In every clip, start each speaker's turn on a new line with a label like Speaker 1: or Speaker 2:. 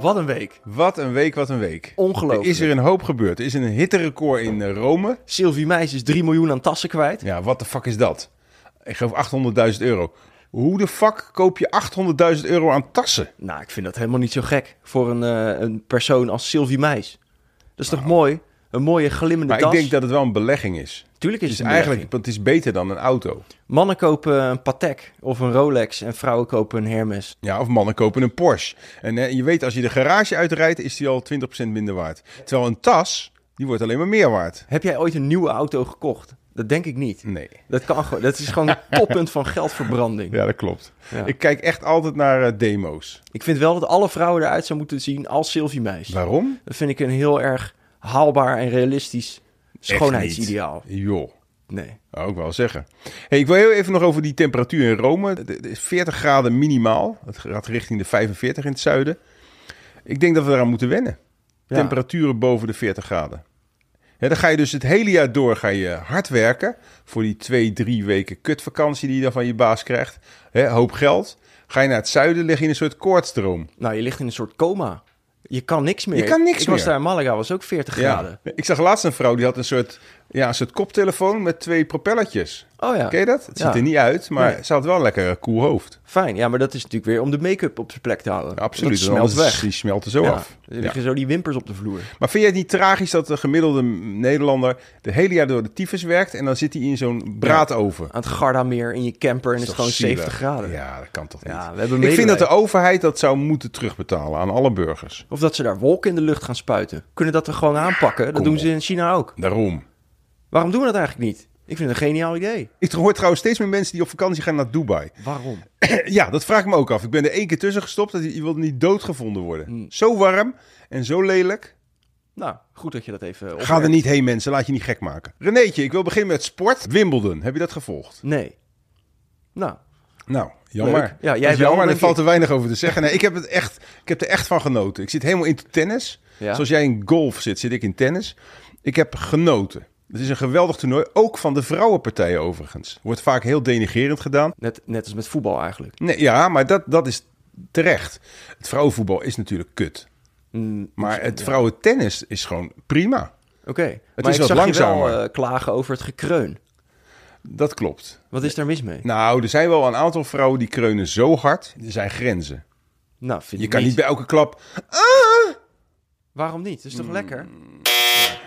Speaker 1: Wat een week.
Speaker 2: wat een week, wat een week.
Speaker 1: Ongelooflijk.
Speaker 2: Er is er een hoop gebeurd. Er is een hitterecord in eh, Rome.
Speaker 1: Sylvie Meis is 3 miljoen aan tassen kwijt.
Speaker 2: Ja, wat de fuck is dat? Ik geef 800.000 euro. Hoe de fuck koop je 800.000 euro aan tassen?
Speaker 1: Nou, ik vind dat helemaal niet zo gek voor een, eh, een persoon als Sylvie Meis. Dat is toch mooi? Een mooie glimmende
Speaker 2: Nou. Maar
Speaker 1: tas.
Speaker 2: ik denk dat het wel een belegging is.
Speaker 1: Tuurlijk is
Speaker 2: Dus
Speaker 1: het een
Speaker 2: eigenlijk,
Speaker 1: belegging.
Speaker 2: het is beter dan een auto.
Speaker 1: Mannen kopen een Patek of een Rolex en vrouwen kopen een Hermes.
Speaker 2: Ja, of mannen kopen een Porsche. En eh, je weet, als je de garage uitrijdt, is die al 20% minder waard. Terwijl een tas, die wordt alleen maar meer waard.
Speaker 1: Heb jij ooit een nieuwe auto gekocht? Dat denk ik niet.
Speaker 2: Nee.
Speaker 1: Dat, kan, gewoon- dat is gewoon het toppunt van geldverbranding.
Speaker 2: Ja, dat klopt.
Speaker 1: Ja.
Speaker 2: Ik kijk echt altijd naar eh, demo's.
Speaker 1: Ik vind wel dat alle vrouwen eruit zou moeten zien als Sylvie Meis.
Speaker 2: Waarom?
Speaker 1: Dat vind ik een heel erg haalbaar en realistisch
Speaker 2: Echt
Speaker 1: schoonheidsideaal.
Speaker 2: niet. Joh.
Speaker 1: Nee.
Speaker 2: Nou, ik wel zeggen. Hey, ik wil heel even nog over die temperatuur in Rome. Het is 40 graden minimaal. Het gaat richting de 45 in het zuiden. Ik denk dat we eraan moeten wennen.
Speaker 1: Ja.
Speaker 2: Temperaturen boven de 40 graden. Ja, dan ga je dus het hele jaar door ga je hard werken. Voor die twee, drie weken kutvakantie die je dan van je baas krijgt. Hè, hoop geld. Ga je naar het zuiden, lig je in een soort koortsdroom.
Speaker 1: Nou, je ligt in een soort coma. Je kan niks meer.
Speaker 2: Je kan niks
Speaker 1: ik
Speaker 2: meer.
Speaker 1: was daar in Malaga, was ook 40 graden.
Speaker 2: Ik zag laatst een vrouw die had een soort, ja, een soort koptelefoon met twee propellertjes.
Speaker 1: Oh ja.
Speaker 2: Ken je dat? Het
Speaker 1: Ja.
Speaker 2: ziet er niet uit, maar
Speaker 1: Nee.
Speaker 2: ze had wel een lekker koel hoofd.
Speaker 1: Fijn, ja, maar dat is natuurlijk weer om de make-up op zijn plek te houden.
Speaker 2: Absoluut,
Speaker 1: Dat
Speaker 2: want
Speaker 1: smelt
Speaker 2: anders
Speaker 1: weg.
Speaker 2: Die smelt er zo
Speaker 1: Ja,
Speaker 2: af.
Speaker 1: er
Speaker 2: Ja.
Speaker 1: liggen zo die wimpers op de vloer.
Speaker 2: Maar vind jij het niet tragisch dat de gemiddelde Nederlander de hele jaar door de tyfus werkt en dan zit hij in zo'n braadoven?
Speaker 1: Aan het Gardameer in je camper en het is gewoon 70 graden.
Speaker 2: Ja, dat kan toch niet.
Speaker 1: Ja, we hebben
Speaker 2: Ik vind dat de
Speaker 1: medelijden.
Speaker 2: overheid dat zou moeten terugbetalen aan alle burgers.
Speaker 1: Of dat ze daar wolken in de lucht gaan spuiten. Kunnen dat er gewoon aanpakken? Dat
Speaker 2: kom
Speaker 1: doen
Speaker 2: op.
Speaker 1: ze in China ook.
Speaker 2: Daarom.
Speaker 1: Waarom doen we dat eigenlijk niet? Ik vind het een geniaal idee.
Speaker 2: Ik hoor trouwens steeds meer mensen die op vakantie gaan naar Dubai.
Speaker 1: Waarom?
Speaker 2: Ja, dat vraag ik me ook af. Ik ben er één keer tussen gestopt. Dat je wilde niet doodgevonden worden.
Speaker 1: Mm.
Speaker 2: Zo warm en zo lelijk.
Speaker 1: Nou, goed dat je dat even opmerkt.
Speaker 2: Ga er niet heen, mensen. Laat je niet gek maken. Renéetje, ik wil beginnen met sport. Wimbledon. Heb je dat gevolgd?
Speaker 1: Nee. Nou,
Speaker 2: Nou, jammer.
Speaker 1: Leuk. Ja, jij
Speaker 2: Dat is
Speaker 1: wel,
Speaker 2: jammer,
Speaker 1: denk
Speaker 2: er valt
Speaker 1: ik.
Speaker 2: er weinig over te zeggen. Nee, ik, heb het echt, ik heb er echt van genoten. Ik zit helemaal in tennis.
Speaker 1: Ja.
Speaker 2: Zoals jij in golf zit, zit ik in tennis. Ik heb genoten. Het is een geweldig toernooi, ook van de vrouwenpartijen overigens. Wordt vaak heel denigerend gedaan.
Speaker 1: net, net als met voetbal eigenlijk.
Speaker 2: Nee, ja, maar dat, dat is terecht. Het vrouwenvoetbal is natuurlijk kut. maar het vrouwentennis is gewoon prima.
Speaker 1: Oké.
Speaker 2: is
Speaker 1: maar ik
Speaker 2: wat
Speaker 1: zag je wel
Speaker 2: langzamer.
Speaker 1: eh, klagen over het gekreun.
Speaker 2: Dat klopt.
Speaker 1: Wat is daar mis mee?
Speaker 2: Nou, er zijn wel een aantal vrouwen die kreunen zo hard. Er zijn grenzen.
Speaker 1: Nou, vind
Speaker 2: Je
Speaker 1: ik
Speaker 2: kan niet bij elke klap
Speaker 1: Waarom niet? Dat is
Speaker 2: Mm.
Speaker 1: toch lekker?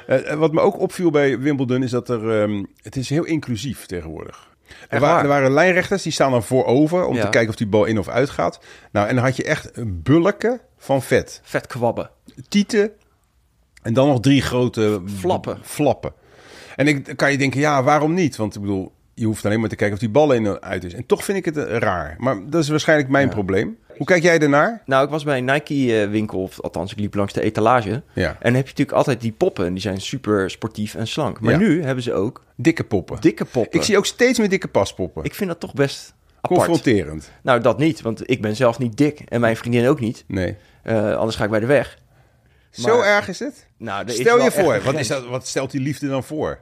Speaker 2: Eh, eh, wat me ook opviel bij Wimbledon is dat er, ehm, het is heel inclusief tegenwoordig. Er, wa-
Speaker 1: waar?
Speaker 2: er waren lijnrechters die staan dan voorover om
Speaker 1: Ja.
Speaker 2: te kijken of die bal in of uit gaat. Nou, en dan had je echt een bulken van vet.
Speaker 1: Vet kwabben.
Speaker 2: Tieten en dan nog drie grote
Speaker 1: Flappen.
Speaker 2: flappen. En ik, dan kan je denken, ja, waarom niet? Want ik bedoel, je hoeft alleen maar te kijken of die bal in en uit is. En toch vind ik het eh, raar. Maar dat is waarschijnlijk mijn probleem. Hoe kijk jij ernaar?
Speaker 1: Nou, ik was bij een Nike-winkel, of althans, ik liep langs de etalage.
Speaker 2: Ja.
Speaker 1: En dan heb je natuurlijk altijd die poppen. en Die zijn super sportief en slank. Maar
Speaker 2: Ja.
Speaker 1: nu hebben ze ook
Speaker 2: Dikke poppen.
Speaker 1: dikke poppen.
Speaker 2: Ik zie ook steeds meer dikke paspoppen.
Speaker 1: Ik vind dat toch best apart.
Speaker 2: Confronterend.
Speaker 1: Nou, dat niet, want ik ben zelf niet dik. En mijn vriendin ook niet.
Speaker 2: Nee.
Speaker 1: Eh, anders ga ik bij de weg.
Speaker 2: Zo
Speaker 1: Maar-
Speaker 2: erg is het?
Speaker 1: Nou, er is
Speaker 2: Stel
Speaker 1: wel
Speaker 2: je
Speaker 1: echt
Speaker 2: voor,
Speaker 1: een
Speaker 2: wat,
Speaker 1: grens.
Speaker 2: is dat, wat stelt die liefde dan voor?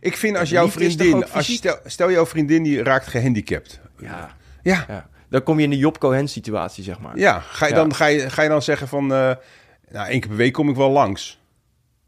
Speaker 2: Ik vind als
Speaker 1: de
Speaker 2: jouw
Speaker 1: liefde is toch
Speaker 2: vriendin,
Speaker 1: ook
Speaker 2: als
Speaker 1: fysiek?
Speaker 2: stel, stel jouw vriendin die raakt gehandicapt.
Speaker 1: Ja,
Speaker 2: Ja, ja.
Speaker 1: ja. Dan kom je in de Job Cohen-situatie, zeg maar.
Speaker 2: Ga, je
Speaker 1: Ja.
Speaker 2: Dan, ga, je, ga je dan zeggen van, eh, nou één keer per week kom ik wel langs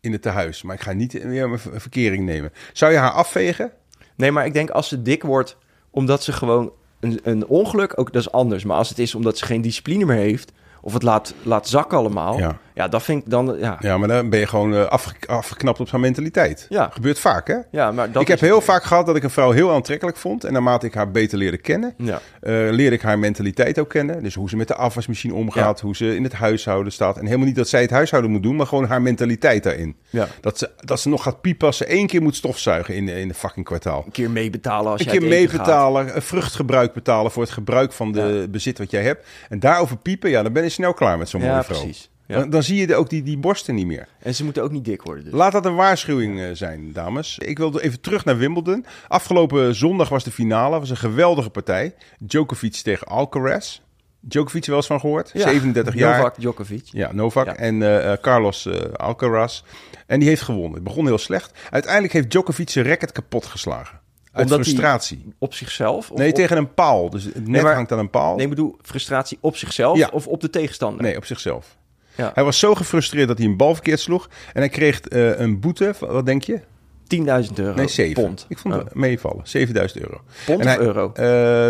Speaker 2: in het tehuis. Maar ik ga niet weer mijn ver- verkering nemen. Zou je haar afvegen?
Speaker 1: Nee, maar ik denk als ze dik wordt, omdat ze gewoon een, een ongeluk, ook dat is anders. Maar als het is omdat ze geen discipline meer heeft, of het laat, laat zakken allemaal,
Speaker 2: Ja.
Speaker 1: ja, dat vind ik dan, ja. ja.
Speaker 2: Ja, maar dan ben je gewoon eh, afge- afgeknapt op zijn mentaliteit.
Speaker 1: Ja.
Speaker 2: Gebeurt vaak, hè?
Speaker 1: maar dat
Speaker 2: ik heb
Speaker 1: is-
Speaker 2: heel vaak gehad dat ik een vrouw heel aantrekkelijk vond. En naarmate ik haar beter leerde kennen,
Speaker 1: Ja.
Speaker 2: eh, leerde ik haar mentaliteit ook kennen. Dus hoe ze met de afwasmachine omgaat, hoe ze in het huishouden staat. En helemaal niet dat zij het huishouden moet doen, maar gewoon haar mentaliteit daarin.
Speaker 1: Ja.
Speaker 2: Dat, ze, dat ze nog gaat piepen als ze één keer moet stofzuigen in, in de fucking kwartaal.
Speaker 1: een keer meebetalen als
Speaker 2: Een
Speaker 1: je
Speaker 2: keer
Speaker 1: uit eten gaat.
Speaker 2: meebetalen, een vruchtgebruik betalen voor het gebruik van de bezit wat jij hebt. En daarover piepen, ja, dan ben je snel klaar met zo'n
Speaker 1: Ja,
Speaker 2: mooie vrouw.
Speaker 1: precies. Ja.
Speaker 2: Dan, dan zie je de- ook die, die borsten niet meer.
Speaker 1: En ze moeten ook niet dik worden. Dus.
Speaker 2: Laat dat een waarschuwing eh, zijn, dames. Ik wil even terug naar Wimbledon. Afgelopen zondag was de finale. was een geweldige partij. Djokovic tegen Alcaraz. Djokovic wel eens van gehoord. 37 jaar.
Speaker 1: Novak Djokovic.
Speaker 2: Ja, Novak
Speaker 1: Ja.
Speaker 2: en eh, eh, Carlos eh, Alcaraz. En die heeft gewonnen. Het begon heel slecht. Uiteindelijk heeft Djokovic zijn racket kapot geslagen. Uit
Speaker 1: Omdat hij-
Speaker 2: frustratie.
Speaker 1: Op zichzelf? Of
Speaker 2: Nee,
Speaker 1: op-
Speaker 2: tegen een paal. Dus het net
Speaker 1: maar-
Speaker 2: hangt aan een paal.
Speaker 1: Nee, ik bedoel, frustratie op zichzelf
Speaker 2: Ja.
Speaker 1: of op de tegenstander?
Speaker 2: Nee, op zichzelf.
Speaker 1: Ja.
Speaker 2: Hij was zo gefrustreerd dat hij een bal verkeerd sloeg. En hij kreeg eh, een boete, van- wat denk je?
Speaker 1: 10.000 euro.
Speaker 2: Nee, 7.
Speaker 1: Pond.
Speaker 2: Ik vond
Speaker 1: Oh.
Speaker 2: het meevallen. 7000 euro.
Speaker 1: Pond
Speaker 2: En
Speaker 1: of
Speaker 2: hij-
Speaker 1: euro?
Speaker 2: Eh,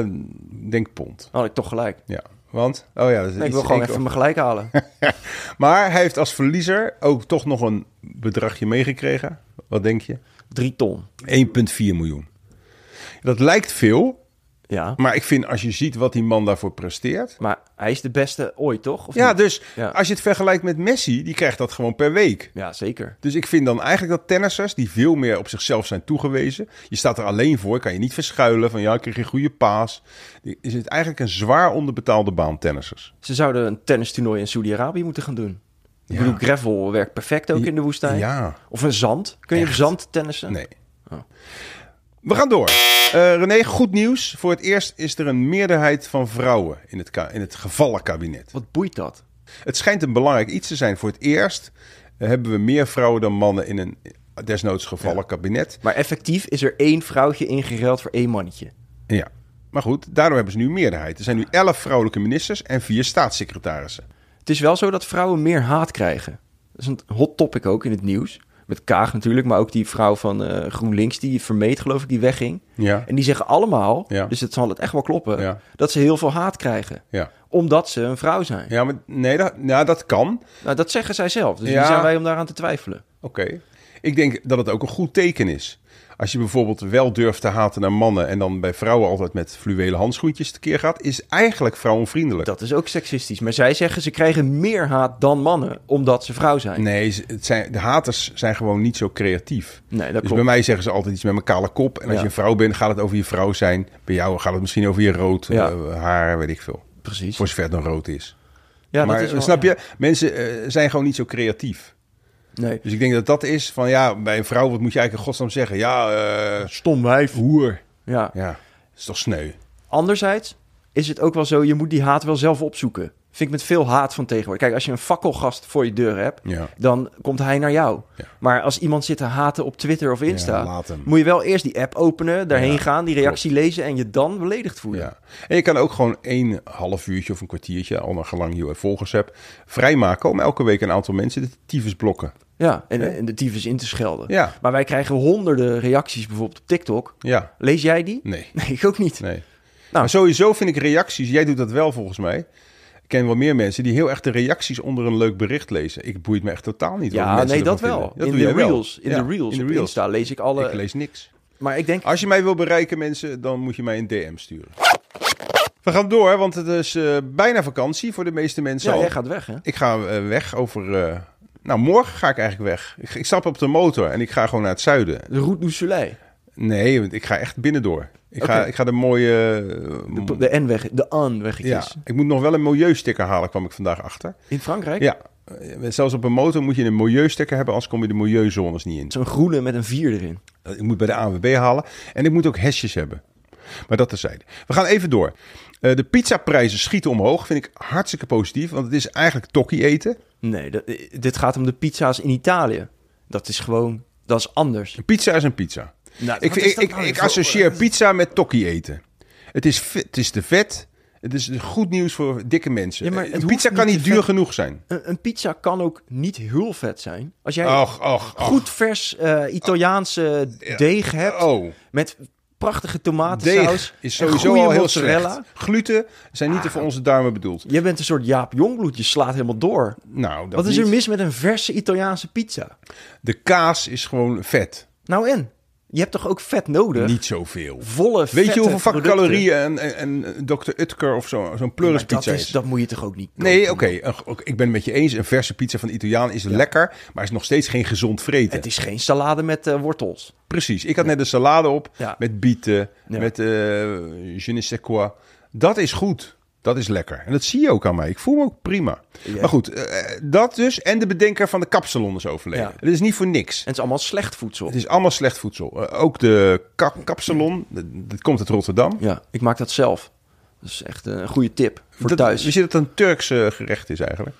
Speaker 2: Ik denk pond.
Speaker 1: Had ik toch gelijk.
Speaker 2: Ja. Want? Oh ja, dat is
Speaker 1: Nee, ik
Speaker 2: iets-
Speaker 1: wil gewoon
Speaker 2: één keer-
Speaker 1: even mijn gelijk halen.
Speaker 2: Maar hij heeft als verliezer ook toch nog een bedragje meegekregen. Wat denk je?
Speaker 1: 3 ton.
Speaker 2: 1,4 miljoen. Dat lijkt veel,
Speaker 1: Ja.
Speaker 2: maar ik vind als je ziet wat die man daarvoor presteert.
Speaker 1: Maar hij is de beste ooit, toch? Of
Speaker 2: Ja,
Speaker 1: niet?
Speaker 2: dus
Speaker 1: Ja.
Speaker 2: als je het vergelijkt met Messi, die krijgt dat gewoon per week.
Speaker 1: ja, zeker.
Speaker 2: Dus ik vind dan eigenlijk dat tennissers die veel meer op zichzelf zijn toegewezen. Je staat er alleen voor, kan je niet verschuilen van ja, ik kreeg een goede paas. Is het eigenlijk een zwaar onderbetaalde baan tennissers?
Speaker 1: Ze zouden een tennistoernooi in Saudi-Arabië moeten gaan doen. Ik
Speaker 2: Ja.
Speaker 1: bedoel, gravel werkt perfect ook in de woestijn.
Speaker 2: Ja.
Speaker 1: Of een zand. Kun je op zand tennissen?
Speaker 2: Nee. We gaan door. Eh, René, goed nieuws. Voor het eerst is er een meerderheid van vrouwen in het, ka- in het gevallenkabinet.
Speaker 1: Wat boeit dat?
Speaker 2: Het schijnt een belangrijk iets te zijn. Voor het eerst eh, hebben we meer vrouwen dan mannen in een desnoods gevallen kabinet.
Speaker 1: Maar effectief is er één vrouwtje ingeruild voor één mannetje.
Speaker 2: Ja. Maar goed, daardoor hebben ze nu meerderheid. Er zijn nu elf vrouwelijke ministers en vier staatssecretarissen.
Speaker 1: Het is wel zo dat vrouwen meer haat krijgen. Dat is een hot topic ook in het nieuws. Met Kaag natuurlijk, maar ook die vrouw van eh, GroenLinks die vermeed, geloof ik, die wegging.
Speaker 2: Ja.
Speaker 1: En die zeggen allemaal,
Speaker 2: Ja.
Speaker 1: dus het zal het echt wel kloppen,
Speaker 2: Ja.
Speaker 1: dat ze heel veel haat krijgen.
Speaker 2: Ja.
Speaker 1: Omdat ze een vrouw zijn.
Speaker 2: Ja, maar nee, dat, nou, dat kan.
Speaker 1: Nou, dat zeggen zij zelf. Dus
Speaker 2: Ja.
Speaker 1: wie zijn wij om daaraan te twijfelen?
Speaker 2: Oké. Ik denk dat het ook een goed teken is. Als je bijvoorbeeld wel durft te haten naar mannen en dan bij vrouwen altijd met fluwelen handschoentjes tekeer gaat, is eigenlijk vrouwenvriendelijk.
Speaker 1: Dat is ook seksistisch. Maar zij zeggen ze krijgen meer haat dan mannen omdat ze vrouw zijn.
Speaker 2: Nee, ze- het zijn, de haters zijn gewoon niet zo creatief.
Speaker 1: Nee, dat
Speaker 2: dus
Speaker 1: klopt.
Speaker 2: bij mij zeggen ze altijd iets met mijn kale kop. En als
Speaker 1: Ja.
Speaker 2: je een vrouw bent, gaat het over je vrouw zijn. Bij jou gaat het misschien over je rood
Speaker 1: Ja.
Speaker 2: eh, haar, weet ik veel.
Speaker 1: Precies.
Speaker 2: Voor zover het dan rood is.
Speaker 1: Ja,
Speaker 2: maar
Speaker 1: dat is wel-
Speaker 2: snap
Speaker 1: ja.
Speaker 2: je, mensen eh, zijn gewoon niet zo creatief.
Speaker 1: Nee.
Speaker 2: Dus ik denk dat dat is van ja, bij een vrouw, wat moet je eigenlijk in godsnaam zeggen? Ja, eh
Speaker 1: Stom wijf.
Speaker 2: hoer.
Speaker 1: Ja.
Speaker 2: Ja, dat is toch sneu.
Speaker 1: Anderzijds is het ook wel zo, je moet die haat wel zelf opzoeken. Vind ik met veel haat van tegenwoordig. Kijk, als je een fakkelgast voor je deur hebt,
Speaker 2: Ja.
Speaker 1: dan komt hij naar jou.
Speaker 2: Ja.
Speaker 1: Maar als iemand zit te haten op Twitter of Insta,
Speaker 2: Ja, laat hem.
Speaker 1: moet je wel eerst die app openen, daarheen
Speaker 2: Ja,
Speaker 1: gaan, die reactie lezen en je dan beledigd voelen.
Speaker 2: Ja. En je kan ook gewoon één half uurtje of een kwartiertje, al naar gelang je volgers hebt, vrijmaken om elke week een aantal mensen de tyfus blokken.
Speaker 1: Ja, en, en de tyfus in te schelden.
Speaker 2: Ja.
Speaker 1: Maar wij krijgen honderden reacties bijvoorbeeld op TikTok.
Speaker 2: Ja,
Speaker 1: Lees jij die?
Speaker 2: nee.
Speaker 1: Nee, ik ook niet.
Speaker 2: Nee.
Speaker 1: Nou.
Speaker 2: Maar sowieso vind ik reacties, jij doet dat wel volgens mij. Ik ken wel meer mensen die heel echt de reacties onder een leuk bericht lezen. Ik boeit me echt totaal niet. wat
Speaker 1: Ja,
Speaker 2: mensen
Speaker 1: nee,
Speaker 2: ervan
Speaker 1: dat wel.
Speaker 2: vinden.
Speaker 1: in
Speaker 2: doe
Speaker 1: de
Speaker 2: jij wel.
Speaker 1: reels, in
Speaker 2: Ja,
Speaker 1: de reels,
Speaker 2: in de
Speaker 1: op
Speaker 2: reels.
Speaker 1: Insta lees ik alle.
Speaker 2: Ik lees niks.
Speaker 1: Maar ik denk,
Speaker 2: Als je mij wil bereiken, mensen, dan moet je mij een DM sturen. We gaan door, want het is eh, bijna vakantie voor de meeste mensen.
Speaker 1: ja,
Speaker 2: al.
Speaker 1: jij gaat weg, hè?
Speaker 2: Ik ga eh, weg over. eh, nou, morgen ga ik eigenlijk weg. Ik, ik stap op de motor en ik ga gewoon naar het zuiden.
Speaker 1: De Route du Soleil,
Speaker 2: Nee, want ik ga echt binnendoor. Ik, ga,
Speaker 1: Oké.
Speaker 2: ik ga de mooie. eh,
Speaker 1: de, de N-weg, de An-weggetjes.
Speaker 2: ja, ik moet nog wel een milieusticker halen, kwam ik vandaag achter.
Speaker 1: In Frankrijk?
Speaker 2: Ja, eh, zelfs op een motor moet je een milieusticker hebben, anders kom je de milieuzones niet in.
Speaker 1: Zo'n groene met een vier erin.
Speaker 2: Eh, Ik moet bij de ANWB halen. En ik moet ook hesjes hebben. Maar dat terzijde. We gaan even door. Eh, de pizzaprijzen schieten omhoog. Vind ik hartstikke positief. Want het is eigenlijk tokkie eten.
Speaker 1: Nee, dat- eh, dit gaat om de pizza's in Italië. Dat is gewoon, dat is anders.
Speaker 2: Een pizza is een pizza.
Speaker 1: Nou,
Speaker 2: ik,
Speaker 1: wat is
Speaker 2: ik,
Speaker 1: dat
Speaker 2: ik,
Speaker 1: nou weer
Speaker 2: ik
Speaker 1: voor-
Speaker 2: associeer pizza met tokkie eten. Het is, vet- het is te vet. Het is goed nieuws voor dikke mensen.
Speaker 1: Ja, maar
Speaker 2: Eh,
Speaker 1: het
Speaker 2: een pizza
Speaker 1: hoeft
Speaker 2: kan
Speaker 1: niet
Speaker 2: niet
Speaker 1: te
Speaker 2: duur
Speaker 1: vet.
Speaker 2: genoeg zijn.
Speaker 1: Een, een pizza kan ook niet heel vet zijn. Als jij
Speaker 2: Och, och, och.
Speaker 1: goed vers eh, Italiaanse deeg hebt
Speaker 2: Oh.
Speaker 1: met prachtige tomatensaus.
Speaker 2: Deeg
Speaker 1: en
Speaker 2: is sowieso
Speaker 1: goede
Speaker 2: al heel
Speaker 1: mozzarella. Ah.
Speaker 2: slecht. Gluten zijn niet voor onze darmen bedoeld.
Speaker 1: Jij bent een soort Jaap Jongbloed, je slaat helemaal door.
Speaker 2: Nou, dat
Speaker 1: Wat is er
Speaker 2: niet.
Speaker 1: mis met een verse Italiaanse pizza?
Speaker 2: De kaas is gewoon vet.
Speaker 1: Nou en? Je hebt toch ook vet nodig?
Speaker 2: Niet zoveel.
Speaker 1: Volle
Speaker 2: Weet je
Speaker 1: vette
Speaker 2: hoeveel vak
Speaker 1: producten.
Speaker 2: calorieën een, een, een Dr. Utker of zo- zo'n
Speaker 1: Maar dat,
Speaker 2: pleurispizza is?
Speaker 1: is, dat moet je toch ook niet
Speaker 2: Nee, oké.
Speaker 1: kopen?
Speaker 2: een- oké, Ik ben het met je eens. Een verse pizza van de Italiaan is lekker, maar is nog steeds geen gezond vreten.
Speaker 1: Het is geen salade met eh, wortels.
Speaker 2: Precies. Ik had net een salade op
Speaker 1: Ja.
Speaker 2: met bieten,
Speaker 1: Ja.
Speaker 2: met eh je ne sais quoi. Dat is goed. Dat is lekker. En dat zie je ook aan mij. Ik voel me ook prima.
Speaker 1: Ja.
Speaker 2: Maar goed, eh, dat dus. En de bedenker van de kapsalon is overleden.
Speaker 1: Ja.
Speaker 2: Het is niet voor niks.
Speaker 1: het is allemaal slecht voedsel.
Speaker 2: Het is allemaal slecht voedsel. Eh, ook de ka- kapsalon, dat- dat komt uit Rotterdam.
Speaker 1: Ja, ik maak dat zelf. Dat is echt eh, een goede tip voor
Speaker 2: dat,
Speaker 1: thuis.
Speaker 2: Wist je dat het een Turks eh, gerecht is eigenlijk?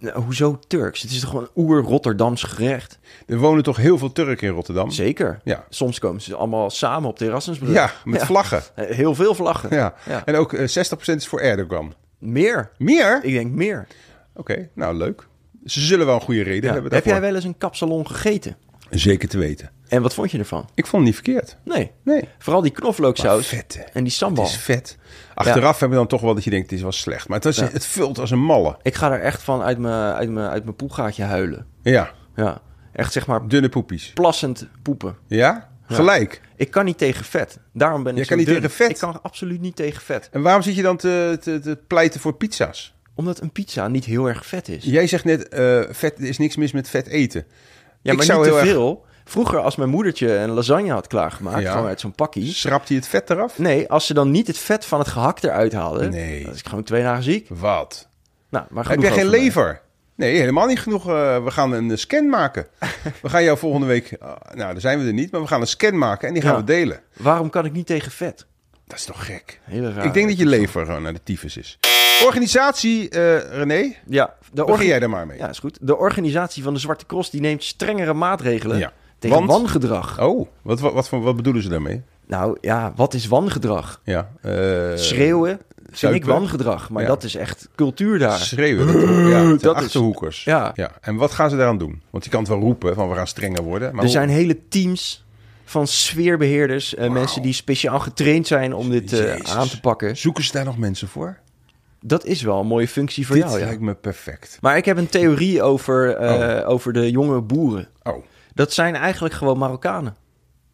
Speaker 1: Nou, hoezo Turks? Het is toch gewoon een oer-Rotterdams gerecht?
Speaker 2: Er wonen toch heel veel Turken in Rotterdam?
Speaker 1: Zeker.
Speaker 2: Ja.
Speaker 1: Soms komen ze allemaal samen op de Erasmusbrug.
Speaker 2: Ja, met vlaggen.
Speaker 1: Eh, Heel veel vlaggen.
Speaker 2: Ja.
Speaker 1: Ja.
Speaker 2: En ook eh, 60% is voor Erdogan.
Speaker 1: Meer.
Speaker 2: Meer?
Speaker 1: Ik denk meer.
Speaker 2: Oké, nou leuk. Ze zullen wel een goede reden
Speaker 1: Ja.
Speaker 2: hebben
Speaker 1: Heb
Speaker 2: daarvoor.
Speaker 1: jij wel eens een kapsalon gegeten?
Speaker 2: Zeker te weten.
Speaker 1: En wat vond je ervan?
Speaker 2: Ik vond het niet verkeerd.
Speaker 1: Nee.
Speaker 2: Nee.
Speaker 1: Vooral die knoflooksaus
Speaker 2: Maar vet, hè?
Speaker 1: en die sambal.
Speaker 2: Het is vet. Achteraf hebben we dan toch wel dat je denkt, het is wel slecht. Maar het, was, het vult als een malle.
Speaker 1: Ik ga er echt van uit mijn, uit mijn, uit mijn poelgaatje huilen.
Speaker 2: Ja,
Speaker 1: Ja. Echt zeg maar
Speaker 2: dunne poepies.
Speaker 1: plassend poepen.
Speaker 2: Ja? Gelijk.
Speaker 1: Ik kan niet tegen vet. Daarom ben ik
Speaker 2: Jij
Speaker 1: zo
Speaker 2: kan niet
Speaker 1: dun.
Speaker 2: tegen vet?
Speaker 1: Ik kan absoluut niet tegen vet.
Speaker 2: En waarom zit je dan te, te, te pleiten voor pizza's?
Speaker 1: Omdat een pizza niet heel erg vet is.
Speaker 2: Jij zegt net, eh, vet, er is niks mis met vet eten.
Speaker 1: Ja,
Speaker 2: Ik
Speaker 1: maar
Speaker 2: zou
Speaker 1: niet te
Speaker 2: heel erg-
Speaker 1: veel. Vroeger als mijn moedertje een lasagne had klaargemaakt,
Speaker 2: Ja.
Speaker 1: gewoon uit zo'n pakkie.
Speaker 2: Schrapt hij het vet eraf?
Speaker 1: Nee, als ze dan niet het vet van het gehakt eruit haalden,
Speaker 2: Nee.
Speaker 1: dan is ik gewoon twee dagen ziek.
Speaker 2: Wat?
Speaker 1: Nou, maar
Speaker 2: Heb
Speaker 1: genoeg
Speaker 2: jij geen
Speaker 1: over mij.
Speaker 2: lever? Nee, helemaal niet genoeg. Eh, we gaan een eh, scan maken. We gaan jou volgende week... ah, nou, daar zijn we er niet, maar we gaan een scan maken en die gaan
Speaker 1: Ja.
Speaker 2: we delen.
Speaker 1: Waarom kan ik niet tegen vet?
Speaker 2: Dat is toch gek?
Speaker 1: Hele raar.
Speaker 2: Ik denk dat je lever gewoon naar de tyfus is. Organisatie, eh, René,
Speaker 1: Ja, de orga-
Speaker 2: begin jij daar maar mee.
Speaker 1: Ja, is goed. De organisatie van de Zwarte Cross die neemt strengere maatregelen
Speaker 2: Ja.
Speaker 1: tegen
Speaker 2: Want-
Speaker 1: wangedrag.
Speaker 2: Oh, wat, wat, wat, voor- wat bedoelen ze daarmee?
Speaker 1: Nou ja, wat is wangedrag?
Speaker 2: Ja, eh,
Speaker 1: Schreeuwen vind ik
Speaker 2: zuipen.
Speaker 1: wangedrag, maar
Speaker 2: Ja.
Speaker 1: dat is echt cultuur daar.
Speaker 2: Schreeuwen. Dat, ja, dat
Speaker 1: dat is-
Speaker 2: achterhoekers.
Speaker 1: Ja.
Speaker 2: En wat gaan ze daaraan doen? Want je kan het wel roepen van we gaan strenger worden. Maar
Speaker 1: er
Speaker 2: hoe-
Speaker 1: zijn hele teams van sfeerbeheerders, eh, mensen die speciaal getraind zijn om dit eh,
Speaker 2: Jezus.
Speaker 1: aan te pakken.
Speaker 2: zoeken ze daar nog mensen voor?
Speaker 1: Dat is wel een mooie functie voor
Speaker 2: Dit
Speaker 1: jou. Ja.
Speaker 2: lijkt me Oh. perfect.
Speaker 1: Maar ik heb een theorie over, eh, over de jonge boeren.
Speaker 2: Oh,
Speaker 1: Dat zijn eigenlijk gewoon Marokkanen.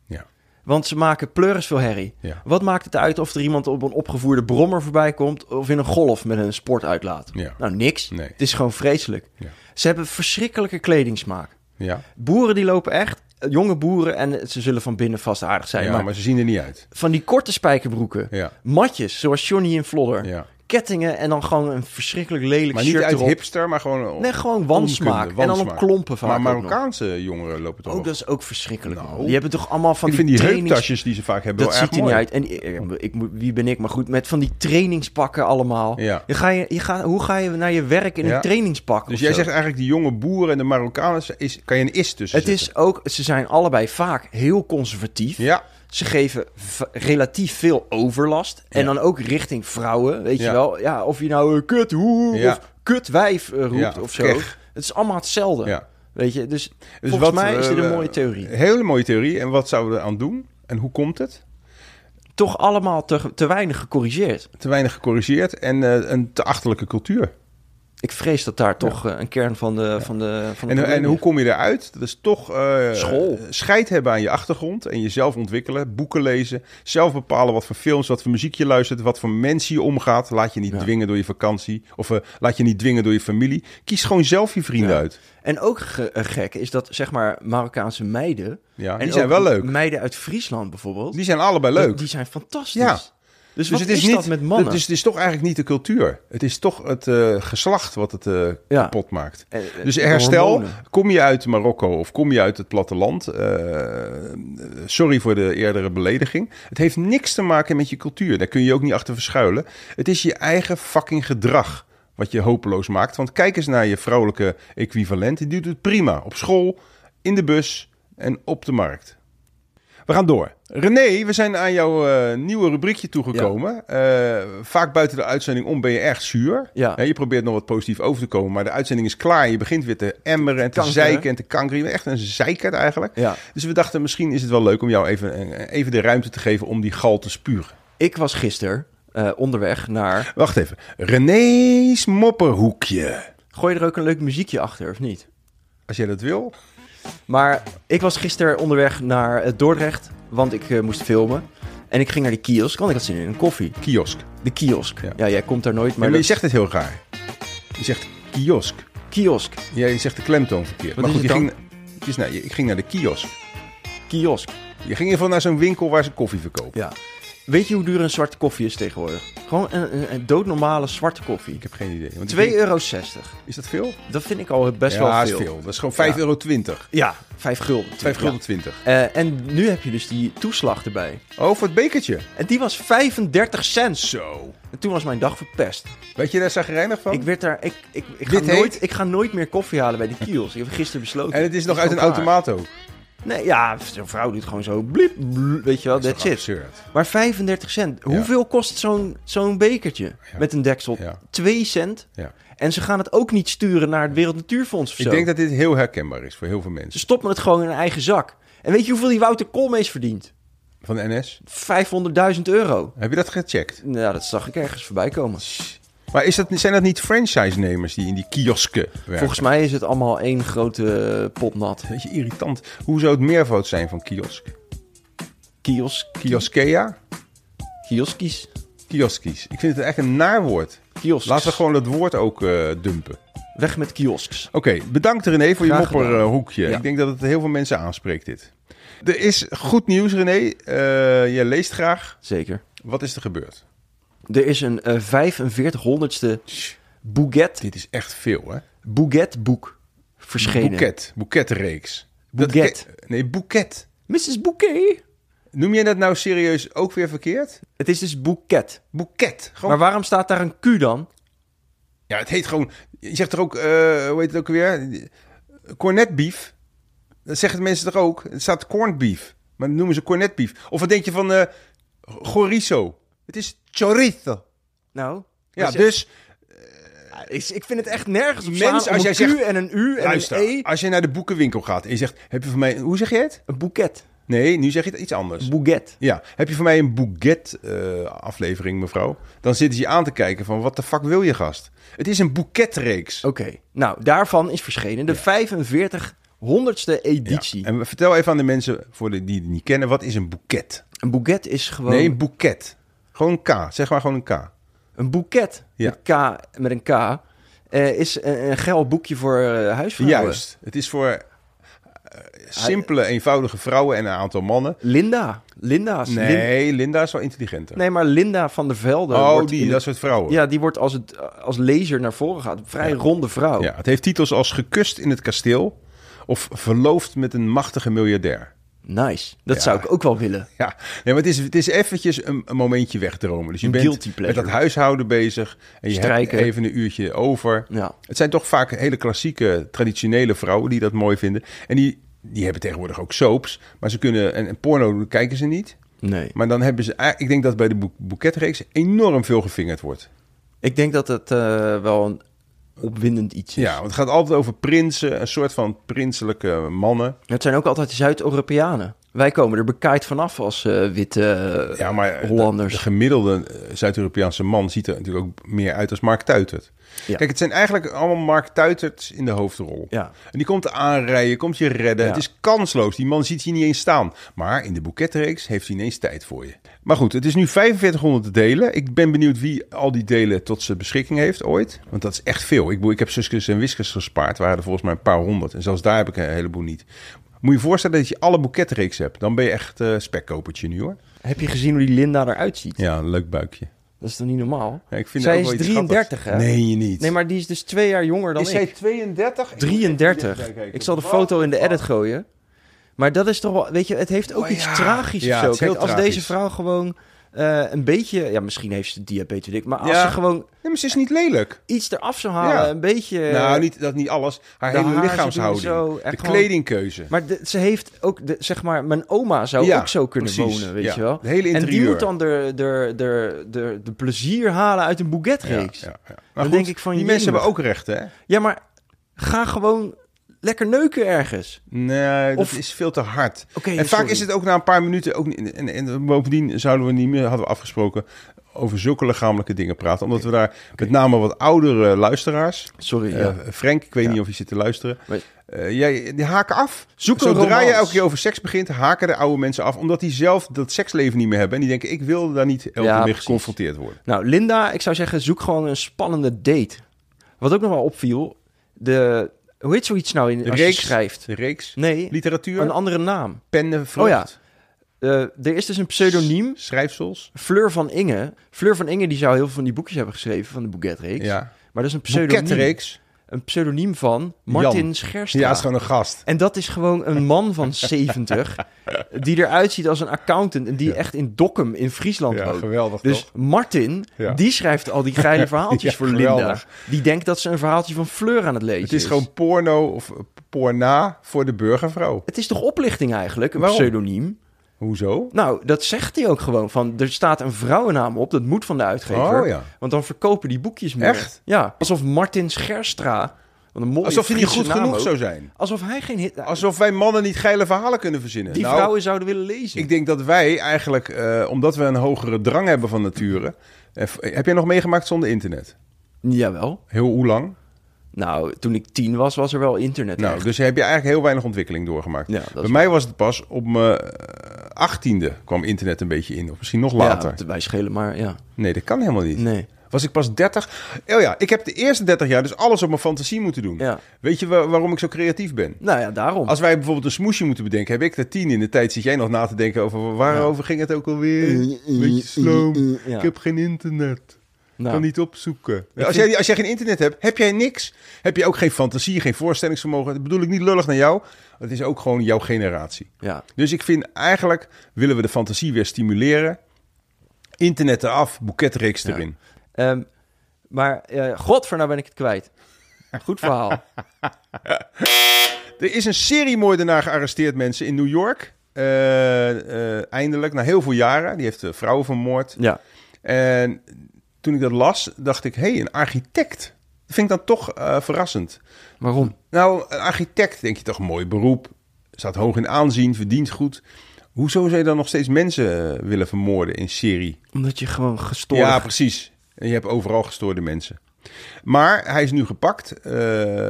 Speaker 2: ja.
Speaker 1: Want ze maken pleuris veel herrie.
Speaker 2: Ja.
Speaker 1: Wat maakt het uit of er iemand op een opgevoerde brommer voorbij komt... of in een golf met een sportuitlaat?
Speaker 2: Ja.
Speaker 1: Nou, niks.
Speaker 2: Nee.
Speaker 1: Het is gewoon vreselijk.
Speaker 2: Ja.
Speaker 1: Ze hebben verschrikkelijke kledingsmaak.
Speaker 2: Ja,
Speaker 1: Boeren die lopen echt, eh, jonge boeren... en ze zullen van binnen vast aardig zijn.
Speaker 2: ja maar,
Speaker 1: maar
Speaker 2: ze zien er niet uit.
Speaker 1: van die korte spijkerbroeken,
Speaker 2: Ja.
Speaker 1: matjes, zoals Johnny in Vlodder...
Speaker 2: Ja.
Speaker 1: kettingen en dan gewoon een verschrikkelijk lelijk
Speaker 2: Maar niet
Speaker 1: shirt
Speaker 2: uit
Speaker 1: erop.
Speaker 2: hipster, maar gewoon... oh,
Speaker 1: Nee, gewoon wansmaak.
Speaker 2: onkunde,
Speaker 1: En dan op
Speaker 2: wansmaak.
Speaker 1: klompen vaak
Speaker 2: Maar
Speaker 1: ook nog.
Speaker 2: Marokkaanse jongeren lopen toch
Speaker 1: Oh,
Speaker 2: ook?
Speaker 1: dat is ook verschrikkelijk.
Speaker 2: Nou.
Speaker 1: man. Die hebben toch allemaal van
Speaker 2: Ik vind die
Speaker 1: trainings-
Speaker 2: heuptasjes die ze vaak hebben
Speaker 1: Dat
Speaker 2: wel
Speaker 1: ziet
Speaker 2: erg
Speaker 1: er niet
Speaker 2: mooi. Oh.
Speaker 1: uit. En eh, ik, moet- wie ben ik? Maar goed, met van die trainingspakken allemaal.
Speaker 2: Ja.
Speaker 1: Je ga je, je gaat, hoe ga je naar je werk in
Speaker 2: Ja.
Speaker 1: een trainingspak?
Speaker 2: Dus
Speaker 1: of
Speaker 2: jij
Speaker 1: zo?
Speaker 2: zegt eigenlijk die jonge boeren en de Marokkanen is, kan je een is tussen
Speaker 1: Het is ook, ze zijn allebei vaak heel conservatief.
Speaker 2: zetten. Ja,
Speaker 1: Ze geven v- relatief veel overlast. En
Speaker 2: Ja.
Speaker 1: dan ook richting vrouwen, weet
Speaker 2: Ja.
Speaker 1: je wel. Ja, of je nou eh, kut hoe
Speaker 2: Ja.
Speaker 1: of kut wijf eh, roept
Speaker 2: Ja,
Speaker 1: of
Speaker 2: of
Speaker 1: zo.
Speaker 2: kech.
Speaker 1: Het is allemaal hetzelfde.
Speaker 2: Ja.
Speaker 1: Weet je, dus,
Speaker 2: Dus
Speaker 1: volgens
Speaker 2: wat,
Speaker 1: mij is dit een
Speaker 2: eh,
Speaker 1: mooie theorie.
Speaker 2: hele mooie theorie. En wat zouden we eraan doen? En hoe komt het?
Speaker 1: Toch allemaal te, te weinig gecorrigeerd.
Speaker 2: te weinig gecorrigeerd en eh, een te achterlijke cultuur.
Speaker 1: Ik vrees dat daar toch eh, een kern van de... Van de, van de
Speaker 2: En, en
Speaker 1: probleem
Speaker 2: hoe
Speaker 1: is.
Speaker 2: kom je eruit? Dat is toch eh,
Speaker 1: School.
Speaker 2: scheid hebben aan je achtergrond en jezelf ontwikkelen, boeken lezen, zelf bepalen wat voor films, wat voor muziek je luistert, wat voor mensen je omgaat. Laat je niet dwingen door je vakantie of eh, laat je niet dwingen door je familie. Kies gewoon zelf je vrienden uit.
Speaker 1: En ook ge- eh, gek is dat, zeg maar, Marokkaanse meiden...
Speaker 2: Ja,
Speaker 1: en
Speaker 2: die zijn
Speaker 1: ook
Speaker 2: wel leuk.
Speaker 1: meiden uit Friesland bijvoorbeeld...
Speaker 2: Die zijn allebei
Speaker 1: dat-
Speaker 2: leuk.
Speaker 1: Die zijn fantastisch.
Speaker 2: Ja.
Speaker 1: Dus, wat is, dat met mannen?
Speaker 2: Dus het is toch eigenlijk niet de cultuur. Het is toch het eh, geslacht wat het eh,
Speaker 1: Ja.
Speaker 2: kapot maakt.
Speaker 1: Eh, eh,
Speaker 2: dus
Speaker 1: de
Speaker 2: herstel,
Speaker 1: hormonen.
Speaker 2: kom je uit Marokko of kom je uit het platteland? eh, sorry voor de eerdere belediging. Het heeft niks te maken met je cultuur. Daar kun je je ook niet achter verschuilen. Het is je eigen fucking gedrag wat je hopeloos maakt. Want kijk eens naar je vrouwelijke equivalent. Die doet het prima. Op school, in de bus en op de markt. We gaan door. René, we zijn aan jouw eh, nieuwe rubriekje toegekomen. Eh, vaak buiten de uitzending om ben je erg zuur.
Speaker 1: Ja.
Speaker 2: Hè, je probeert nog wat positief over te komen, maar de uitzending is klaar. Je begint weer te emmeren en te
Speaker 1: Kankeren.
Speaker 2: zeiken en te kankeren. Je bent echt een zeiker eigenlijk.
Speaker 1: Ja.
Speaker 2: Dus we dachten, misschien is het wel leuk om jou even, eh, even de ruimte te geven om die gal te spuren.
Speaker 1: Ik was gisteren eh, onderweg naar...
Speaker 2: Wacht even. René's mopperhoekje.
Speaker 1: Gooi je er ook een leuk muziekje achter, of niet?
Speaker 2: Als jij dat wil.
Speaker 1: Maar ik was gisteren onderweg naar eh, Dordrecht, want ik eh, moest filmen. En ik ging naar de kiosk, want ik had zin in een koffie.
Speaker 2: Kiosk.
Speaker 1: De kiosk. Ja,
Speaker 2: Ja.
Speaker 1: jij komt daar nooit,
Speaker 2: Maar
Speaker 1: maar
Speaker 2: je
Speaker 1: dat
Speaker 2: zegt het heel raar. Je zegt kiosk.
Speaker 1: is kiosk.
Speaker 2: Ja, je zegt de klemtoon verkeerd.
Speaker 1: Wat is
Speaker 2: je
Speaker 1: het
Speaker 2: ging, het is, nou, je- ik ging naar de kiosk.
Speaker 1: Kiosk.
Speaker 2: Je ging in ieder geval naar zo'n winkel waar ze koffie verkopen.
Speaker 1: Ja. Weet je hoe duur een zwarte koffie is tegenwoordig? Gewoon een, een, een doodnormale zwarte koffie.
Speaker 2: Ik heb geen idee. Want
Speaker 1: 2,60
Speaker 2: die
Speaker 1: euro.
Speaker 2: vind- Is dat veel?
Speaker 1: Dat vind ik al best
Speaker 2: ja,
Speaker 1: wel
Speaker 2: is
Speaker 1: veel.
Speaker 2: veel. Dat is gewoon 5,20 euro. 5,20
Speaker 1: Ja, 5 gulden.
Speaker 2: euro.
Speaker 1: Eh, en nu heb je dus die toeslag erbij.
Speaker 2: Oh, voor het bekertje.
Speaker 1: En die was 35 cent.
Speaker 2: Zo.
Speaker 1: En toen was mijn dag verpest.
Speaker 2: Weet je daar zagrijnig van?
Speaker 1: Ik werd daar... Ik, ik, ik, ga
Speaker 2: Dit heet-
Speaker 1: nooit, ik ga nooit meer koffie halen bij die kiels. Ik heb gisteren besloten.
Speaker 2: En het is nog uit een
Speaker 1: gewoon klaar.
Speaker 2: automaat ook.
Speaker 1: Nee, ja, zo'n vrouw doet gewoon zo... Bliep, bliep, weet je wel, that's it.
Speaker 2: Absurd.
Speaker 1: Maar 35 cent. Hoeveel kost zo'n zo'n bekertje met een deksel?
Speaker 2: Ja.
Speaker 1: 2 cent.
Speaker 2: Ja.
Speaker 1: En ze gaan het ook niet sturen naar het Wereld Natuurfonds of zo.
Speaker 2: Ik denk dat dit heel herkenbaar is voor heel veel
Speaker 1: Ze
Speaker 2: mensen.
Speaker 1: stoppen het gewoon in hun eigen zak. En weet je hoeveel die Wouter Koolmees verdient?
Speaker 2: Van de NS.
Speaker 1: 500.000 euro.
Speaker 2: Heb je dat gecheckt?
Speaker 1: Nou, dat zag ik ergens voorbij komen.
Speaker 2: Maar is dat, zijn dat niet franchise-nemers die in die kiosken werken?
Speaker 1: Volgens mij is het allemaal één grote popnat.
Speaker 2: Beetje irritant. Hoe zou het meervoud zijn van kiosk?
Speaker 1: Kiosk,
Speaker 2: Kioskea?
Speaker 1: kioskies.
Speaker 2: Kioskies. Ik vind het echt een naar woord.
Speaker 1: Kiosks.
Speaker 2: Laten we gewoon dat woord ook eh, dumpen.
Speaker 1: Weg met kiosks.
Speaker 2: Oké, bedankt René voor je
Speaker 1: Graag gedaan.
Speaker 2: mopperhoekje.
Speaker 1: Ja.
Speaker 2: Ik denk dat het heel veel mensen aanspreekt dit. Er is goed nieuws René. Eh, jij leest graag.
Speaker 1: Zeker.
Speaker 2: Wat is er gebeurd?
Speaker 1: Er is een eh, 4500ste Bouguet,
Speaker 2: Dit is echt veel hè?
Speaker 1: Bouguet boek verschenen.
Speaker 2: Boeket. Boeketreeks.
Speaker 1: Boeket.
Speaker 2: Dat ke- nee, boeket.
Speaker 1: Mrs. Bouquet.
Speaker 2: Noem jij dat nou serieus ook weer verkeerd?
Speaker 1: Het is dus Bouquet.
Speaker 2: Boeket. Gewoon...
Speaker 1: Maar waarom staat daar een Q dan?
Speaker 2: Ja, het heet gewoon... Je zegt er ook... eh, hoe heet het ook weer? Cornetbeef. Dat zeggen de mensen toch ook? Het staat corned beef. Maar dat noemen ze cornetbeef. Of wat denk je van eh chorizo? Het is chorizo.
Speaker 1: Nou,
Speaker 2: Ja,
Speaker 1: als je-
Speaker 2: dus...
Speaker 1: ik, ik vind het echt nergens op
Speaker 2: Mensen,
Speaker 1: slaan om
Speaker 2: als jij
Speaker 1: een Q
Speaker 2: zegt-
Speaker 1: en een U en
Speaker 2: Luister,
Speaker 1: een E.
Speaker 2: als je naar de boekenwinkel gaat en je zegt... Heb je van mij... Hoe zeg je het?
Speaker 1: Een boeket.
Speaker 2: Nee, nu zeg je het iets anders.
Speaker 1: Bouquet.
Speaker 2: Ja, heb je van mij een bouquet-aflevering, mevrouw? Dan zitten ze je aan te kijken van, wat de fuck wil je, gast? Het is een boeketreeks.
Speaker 1: Oké, nou daarvan is verschenen de 4500ste editie.
Speaker 2: Ja. En vertel even aan de mensen, voor de, die het niet kennen, wat is een boeket?
Speaker 1: Een bouquet is gewoon
Speaker 2: Nee, een boeket. Gewoon een K, zeg maar gewoon een K.
Speaker 1: een boeket
Speaker 2: Ja.
Speaker 1: met, K, met een K. eh, is een, een geil boekje voor eh, huisvrouwen.
Speaker 2: Juist, het is voor eh, simpele, eenvoudige vrouwen en een aantal mannen.
Speaker 1: Linda. Linda's. Lin-
Speaker 2: Nee, Linda is wel intelligenter.
Speaker 1: nee, maar Linda van der Velde.
Speaker 2: oh,
Speaker 1: wordt in
Speaker 2: die,
Speaker 1: de-
Speaker 2: dat soort vrouwen.
Speaker 1: Ja, die wordt als, het, als laser naar voren gaat. Een vrij ronde vrouw.
Speaker 2: Ja, het heeft titels als Gekust in het kasteel of Verloofd met een machtige miljardair.
Speaker 1: Nice. Dat zou ik ook wel willen.
Speaker 2: Ja, nee, maar het is, het is eventjes een, een momentje wegdromen. Dus je
Speaker 1: Een guilty
Speaker 2: bent met
Speaker 1: pleasure.
Speaker 2: dat huishouden bezig en je
Speaker 1: Strijken.
Speaker 2: hebt even een uurtje over.
Speaker 1: Ja.
Speaker 2: Het zijn toch vaak hele klassieke, traditionele vrouwen die dat mooi vinden. En die, die hebben tegenwoordig ook soaps, maar ze kunnen... En, en porno kijken ze niet.
Speaker 1: Nee.
Speaker 2: Maar dan hebben ze... eigenlijk- Ik denk dat bij de boek- boeketreeks enorm veel gevingerd wordt.
Speaker 1: Ik denk dat het eh, wel een opwindend iets is.
Speaker 2: Ja, want het gaat altijd over prinsen, een soort van prinselijke mannen.
Speaker 1: Het zijn ook altijd Zuid-Europeanen. Wij komen er bekaaid vanaf als eh, witte eh,
Speaker 2: Ja, maar
Speaker 1: Hollanders.
Speaker 2: De, de gemiddelde eh, Zuid-Europese man ziet er natuurlijk ook meer uit als Mark Tuitert.
Speaker 1: Ja.
Speaker 2: Kijk, het zijn eigenlijk allemaal Mark Tuiterts in de hoofdrol.
Speaker 1: Ja.
Speaker 2: En die komt aanrijden, komt je redden.
Speaker 1: Ja.
Speaker 2: Het is kansloos. Die man ziet je niet eens staan. Maar in de boeketreeks heeft hij ineens tijd voor je. Maar goed, het is nu 4500 delen. Ik ben benieuwd wie al die delen tot zijn beschikking heeft ooit. Want dat is echt veel. Ik, bedoel, ik heb Suskus en Wiskus gespaard. waren er volgens mij een paar honderd. En zelfs daar heb ik een heleboel niet. Moet je je voorstellen dat je alle boeketreeks hebt. Dan ben je echt eh spekkopertje nu hoor.
Speaker 1: Heb je gezien hoe die Linda eruit ziet?
Speaker 2: Ja, een leuk buikje.
Speaker 1: Dat is toch niet normaal?
Speaker 2: Ja, ik vind
Speaker 1: zij
Speaker 2: ook wel
Speaker 1: is
Speaker 2: iets
Speaker 1: 33, hè?
Speaker 2: grappigs. Nee, je niet.
Speaker 1: Nee, maar die is dus twee jaar jonger dan
Speaker 2: is hij
Speaker 1: ik.
Speaker 2: 32?
Speaker 1: 33. Ik zal de foto in de edit gooien. Maar dat is toch wel... Weet je, het heeft ook
Speaker 2: Oh,
Speaker 1: iets
Speaker 2: ja.
Speaker 1: tragisch
Speaker 2: Ja,
Speaker 1: of zo.
Speaker 2: het is heel
Speaker 1: Kijk, als
Speaker 2: tragisch.
Speaker 1: deze vrouw gewoon eh, een beetje... Ja, misschien heeft ze diabetes, weet ik. Maar als
Speaker 2: Ja.
Speaker 1: ze gewoon
Speaker 2: Nee, maar ze is niet lelijk.
Speaker 1: iets eraf zou halen,
Speaker 2: Ja.
Speaker 1: een beetje...
Speaker 2: nou, niet, dat niet alles. Haar
Speaker 1: Eh, de
Speaker 2: hele
Speaker 1: haar, ze
Speaker 2: lichaamshouding.
Speaker 1: doen zo,
Speaker 2: de
Speaker 1: echt gewoon-
Speaker 2: kledingkeuze.
Speaker 1: Maar de- ze heeft ook, de, zeg maar, mijn oma zou
Speaker 2: Ja,
Speaker 1: ook zo kunnen
Speaker 2: precies,
Speaker 1: wonen, weet
Speaker 2: ja.
Speaker 1: je wel.
Speaker 2: Het hele
Speaker 1: En die
Speaker 2: interieur.
Speaker 1: moet dan de, de, de, de, de plezier halen uit een bouquetreeks.
Speaker 2: Ja,
Speaker 1: Ja,
Speaker 2: ja, ja. Maar
Speaker 1: Dan
Speaker 2: goed,
Speaker 1: denk ik van,
Speaker 2: die mensen
Speaker 1: jemig.
Speaker 2: hebben ook rechten, hè?
Speaker 1: maar ga gewoon lekker neuken ergens.
Speaker 2: Nee,
Speaker 1: Of-
Speaker 2: dat is veel te hard.
Speaker 1: Oké,
Speaker 2: en vaak
Speaker 1: sorry.
Speaker 2: is het ook na een paar minuten ook niet. En, en bovendien zouden we niet meer, hadden we afgesproken, over zulke lichamelijke dingen praten. Omdat we daar met name wat oudere luisteraars.
Speaker 1: Sorry,
Speaker 2: eh,
Speaker 1: ja.
Speaker 2: Frank, ik weet
Speaker 1: Ja.
Speaker 2: niet of je zit te luisteren.
Speaker 1: Maar-
Speaker 2: Eh, jij, die haken af.
Speaker 1: Zoek een
Speaker 2: Zodra
Speaker 1: romans.
Speaker 2: je elke keer over seks begint, haken de oude mensen af. Omdat die zelf dat seksleven niet meer hebben. En die denken, ik wil daar niet elke keer
Speaker 1: Ja,
Speaker 2: mee
Speaker 1: precies.
Speaker 2: geconfronteerd worden.
Speaker 1: Nou, Linda, ik zou zeggen, zoek gewoon een spannende date. Wat ook nog wel opviel, de... Hoe heet zoiets nou in,
Speaker 2: De
Speaker 1: als je
Speaker 2: reeks,
Speaker 1: schrijft?
Speaker 2: de reeks,
Speaker 1: Nee,
Speaker 2: literatuur,
Speaker 1: een andere naam.
Speaker 2: pennen, vrucht.
Speaker 1: Oh ja. eh, er is dus een pseudoniem,
Speaker 2: Schrijfsels?
Speaker 1: Fleur van Inge. Fleur van Inge die zou heel veel van die boekjes hebben geschreven van de Bouquetreeks.
Speaker 2: Ja.
Speaker 1: Maar dat is een pseudoniem,
Speaker 2: Boeketreeks.
Speaker 1: een pseudoniem van Martin
Speaker 2: Jan.
Speaker 1: Scherstra.
Speaker 2: Ja, is gewoon een gast.
Speaker 1: En dat is gewoon een man van 70 die eruit ziet als een accountant en die
Speaker 2: Ja.
Speaker 1: echt in Dokkum in Friesland
Speaker 2: Ja,
Speaker 1: woont.
Speaker 2: geweldig
Speaker 1: Dus
Speaker 2: toch?
Speaker 1: Martin,
Speaker 2: Ja.
Speaker 1: die schrijft al die geile verhaaltjes
Speaker 2: Ja,
Speaker 1: voor Linda.
Speaker 2: geweldig.
Speaker 1: Die denkt dat ze een verhaaltje van Fleur aan het lezen
Speaker 2: Het is gewoon porno of eh, porna voor de burgervrouw.
Speaker 1: Het is toch oplichting eigenlijk, een
Speaker 2: Waarom?
Speaker 1: pseudoniem?
Speaker 2: Hoezo?
Speaker 1: Nou, dat zegt hij ook gewoon van, er staat een vrouwennaam op, dat moet van de uitgever.
Speaker 2: Oh, ja.
Speaker 1: Want dan verkopen die boekjes meer.
Speaker 2: Echt?
Speaker 1: Ja, alsof Martin Scherstra, wat een mooie
Speaker 2: Alsof hij niet
Speaker 1: Friese
Speaker 2: goed
Speaker 1: naam
Speaker 2: genoeg
Speaker 1: ook.
Speaker 2: zou zijn.
Speaker 1: Alsof hij geen hit...
Speaker 2: Alsof wij mannen niet geile verhalen kunnen verzinnen.
Speaker 1: die
Speaker 2: Nou,
Speaker 1: vrouwen zouden willen lezen.
Speaker 2: Ik denk dat wij eigenlijk, eh, omdat we een hogere drang hebben van nature. eh, f- heb jij nog meegemaakt zonder internet?
Speaker 1: Jawel.
Speaker 2: Heel hoe lang?
Speaker 1: Nou, toen ik tien was, was er wel internet.
Speaker 2: Nou,
Speaker 1: echt.
Speaker 2: dus heb je eigenlijk heel weinig ontwikkeling doorgemaakt.
Speaker 1: Ja, dat is
Speaker 2: Bij
Speaker 1: waar.
Speaker 2: mij was het pas op mijn eh, achttiende kwam internet een beetje in. Of misschien nog
Speaker 1: Ja,
Speaker 2: later.
Speaker 1: want wij schelen maar, ja.
Speaker 2: Nee, dat kan helemaal niet.
Speaker 1: Nee.
Speaker 2: Was ik pas 30? Oh ja, ik heb de eerste 30 jaar dus alles op mijn fantasie moeten doen.
Speaker 1: Ja.
Speaker 2: Weet je wa- waarom ik zo creatief ben?
Speaker 1: Nou ja, daarom.
Speaker 2: Als wij bijvoorbeeld een smoesje moeten bedenken, heb ik er tien in de tijd. Zit jij nog na te denken over waarover ging het ook alweer? Beetje sloom.
Speaker 1: ja.
Speaker 2: Ik heb geen internet.
Speaker 1: Nou,
Speaker 2: Kan niet opzoeken. Als jij, als jij geen internet hebt, heb jij niks. Heb je ook geen fantasie, geen voorstellingsvermogen. Dat bedoel ik niet lullig naar jou. Het is ook gewoon jouw generatie.
Speaker 1: Ja.
Speaker 2: Dus ik vind eigenlijk, willen we de fantasie weer stimuleren. Internet eraf, boeketreeks
Speaker 1: Ja.
Speaker 2: erin.
Speaker 1: Ehm, maar, eh godver, nou ben ik het kwijt. Goed verhaal.
Speaker 2: Er is een seriemoordenaar gearresteerd, mensen, in New York. Eh, eh, eindelijk, na heel veel jaren. Die heeft eh, vrouwen vermoord.
Speaker 1: ja.
Speaker 2: En toen ik dat las, dacht ik, hé, hey, een architect. Dat vind ik dan toch eh, verrassend.
Speaker 1: Waarom?
Speaker 2: Nou, een architect, denk je toch, mooi beroep. Staat hoog in aanzien, verdient goed. Hoezo zou je dan nog steeds mensen eh, willen vermoorden in serie?
Speaker 1: Omdat je gewoon gestoord...
Speaker 2: Ja, precies. En je hebt overal gestoorde mensen. Maar hij is nu gepakt, eh,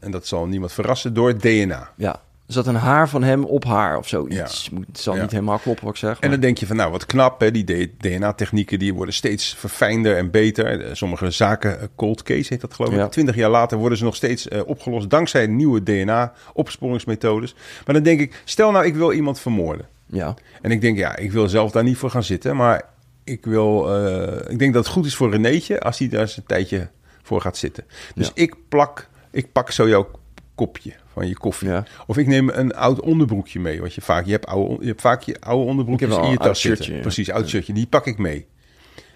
Speaker 2: en dat zal niemand verrassen, door het DNA.
Speaker 1: Ja. Er zat een haar van hem op haar of zoiets.
Speaker 2: Ja.
Speaker 1: Moet- Het zal
Speaker 2: Ja.
Speaker 1: niet helemaal kloppen wat ik zeg.
Speaker 2: En
Speaker 1: maar-
Speaker 2: dan denk je van, nou, wat knap, hè? die DNA-technieken die worden steeds verfijnder en beter. Eh, Sommige zaken, eh, cold case heet dat geloof ik,
Speaker 1: Ja.
Speaker 2: twintig jaar later worden ze nog steeds eh, opgelost dankzij nieuwe DNA-opsporingsmethodes. Maar dan denk ik, stel nou, ik wil iemand vermoorden.
Speaker 1: Ja.
Speaker 2: En ik denk, ja, ik wil zelf daar niet voor gaan zitten, maar ik, wil, eh, ik denk dat het goed is voor Renéetje als hij daar eens een tijdje voor gaat zitten. Dus
Speaker 1: Ja.
Speaker 2: ik plak, ik pak zo jouw kopje van je koffie.
Speaker 1: Ja.
Speaker 2: Of ik neem een oud onderbroekje mee, want je vaak, je hebt, oude, je hebt vaak je oude onderbroekjes
Speaker 1: Ik heb wel
Speaker 2: in je
Speaker 1: een oud
Speaker 2: tas zitten.
Speaker 1: shirtje, ja.
Speaker 2: Precies, oud shirtje, die pak ik mee.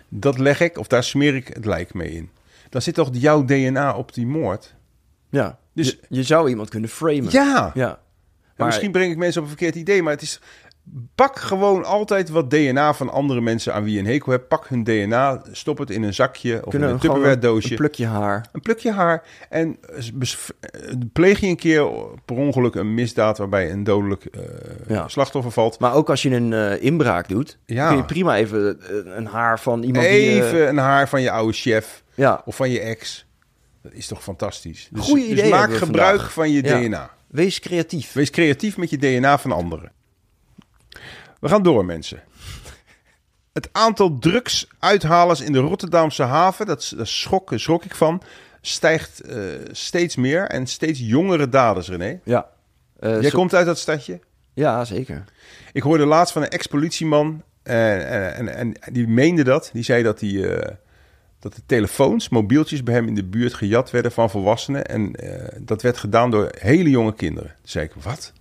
Speaker 2: Dat leg ik, of daar smeer ik het lijk mee in. Dan zit toch jouw DNA op die moord?
Speaker 1: ja.
Speaker 2: Dus-
Speaker 1: Dus... Je, je zou iemand kunnen framen.
Speaker 2: Ja!
Speaker 1: Ja.
Speaker 2: Maar...
Speaker 1: Maar-
Speaker 2: Misschien breng ik mensen op een verkeerd idee, maar het is... Pak gewoon altijd wat DNA van andere mensen aan wie je een hekel hebt. Pak hun DNA, stop het in een zakje of
Speaker 1: Kunnen
Speaker 2: in een
Speaker 1: we gewoon
Speaker 2: Tupperware
Speaker 1: Een
Speaker 2: doosje.
Speaker 1: plukje haar.
Speaker 2: Een plukje haar en eh, bes- eh, pleeg je een keer per ongeluk een misdaad waarbij een dodelijk eh,
Speaker 1: Ja.
Speaker 2: slachtoffer valt.
Speaker 1: Maar ook als je een eh, inbraak doet,
Speaker 2: Ja.
Speaker 1: kun je prima even eh, een haar van iemand die... eh,
Speaker 2: Even een haar van je oude chef
Speaker 1: ja.
Speaker 2: of van je ex. Dat is toch fantastisch. Dus,
Speaker 1: Goeie
Speaker 2: dus
Speaker 1: ideeën
Speaker 2: maak
Speaker 1: hebben we
Speaker 2: gebruik
Speaker 1: vandaag.
Speaker 2: van je
Speaker 1: Ja.
Speaker 2: DNA.
Speaker 1: Wees creatief.
Speaker 2: Wees creatief met je DNA van anderen. We gaan door, mensen. Het aantal drugsuithalers in de Rotterdamse haven, dat, is- dat schok, daar schrok ik van, stijgt eh, steeds meer en steeds jongere daders, René.
Speaker 1: Ja. Eh,
Speaker 2: Jij
Speaker 1: zo-
Speaker 2: komt uit dat stadje?
Speaker 1: Ja, zeker.
Speaker 2: Ik hoorde laatst van een ex-politieman, eh, en, en, en, die meende dat. Die zei dat, die, eh, dat de telefoons, mobieltjes bij hem in de buurt gejat werden van volwassenen. En eh, dat werd gedaan door hele jonge kinderen. Toen zei ik, wat?